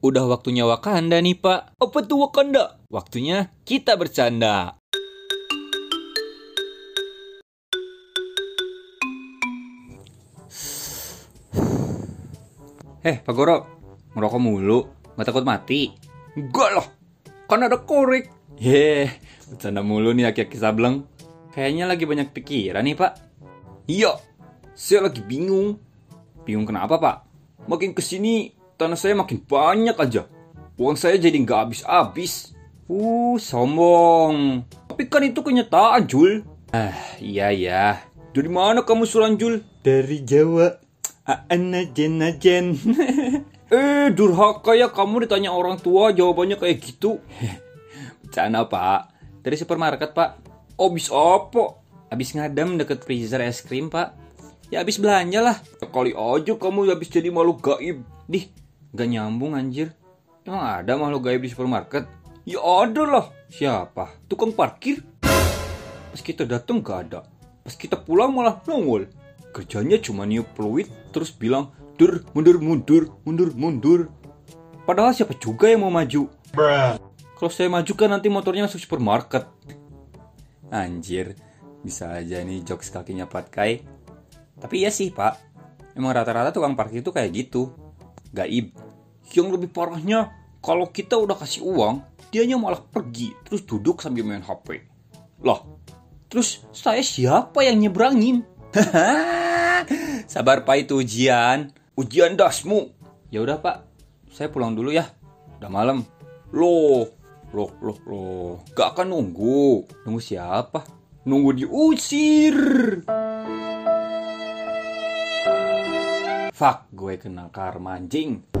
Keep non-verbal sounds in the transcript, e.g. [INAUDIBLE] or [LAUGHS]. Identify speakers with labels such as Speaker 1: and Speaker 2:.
Speaker 1: Udah waktunya Wakanda nih pak Apa tuh Wakanda? Waktunya kita bercanda [SIGHS] Eh Pak Goro Ngerokok mulu Gak takut mati? Enggak lah Kan ada korek Yeh Bercanda mulu nih aki-aki sableng Kayaknya lagi banyak pikiran nih pak Iya Saya lagi bingung Bingung kenapa pak? Makin kesini tanah saya makin banyak aja. Uang saya jadi nggak habis-habis. Uh, sombong. Tapi kan itu kenyataan, Jul. Ah, iya ya. Dari mana kamu suran, Jul? Dari Jawa. Ah, Aana jen [LAUGHS] jen. eh, durhaka ya kamu ditanya orang tua jawabannya kayak gitu. [LAUGHS] Bercanda, Pak. Dari supermarket, Pak. Obis apa? Abis ngadem deket freezer es krim, Pak. Ya abis belanja lah. Kali aja kamu habis jadi makhluk gaib. Dih, gak nyambung anjir. Emang ada makhluk gaib di supermarket? Ya ada lah. Siapa? Tukang parkir? Pas kita datang gak ada. Pas kita pulang malah nongol. Kerjanya cuma niup peluit terus bilang, Dur, mundur, mundur, mundur, mundur. Padahal siapa juga yang mau maju? Kalau saya maju kan nanti motornya masuk supermarket. Anjir, bisa aja nih jokes kakinya patkai. Tapi iya sih pak, emang rata-rata tukang parkir itu kayak gitu. Gaib. Yang lebih parahnya, kalau kita udah kasih uang, dianya malah pergi terus duduk sambil main HP. Loh, terus saya siapa yang nyebrangin? Hahaha, Sabar pak itu ujian. Ujian dasmu. Ya udah pak, saya pulang dulu ya. Udah malam. Loh, loh, loh, loh. Gak akan nunggu. Nunggu siapa? Nunggu diusir. Fuck, gue kena karma anjing.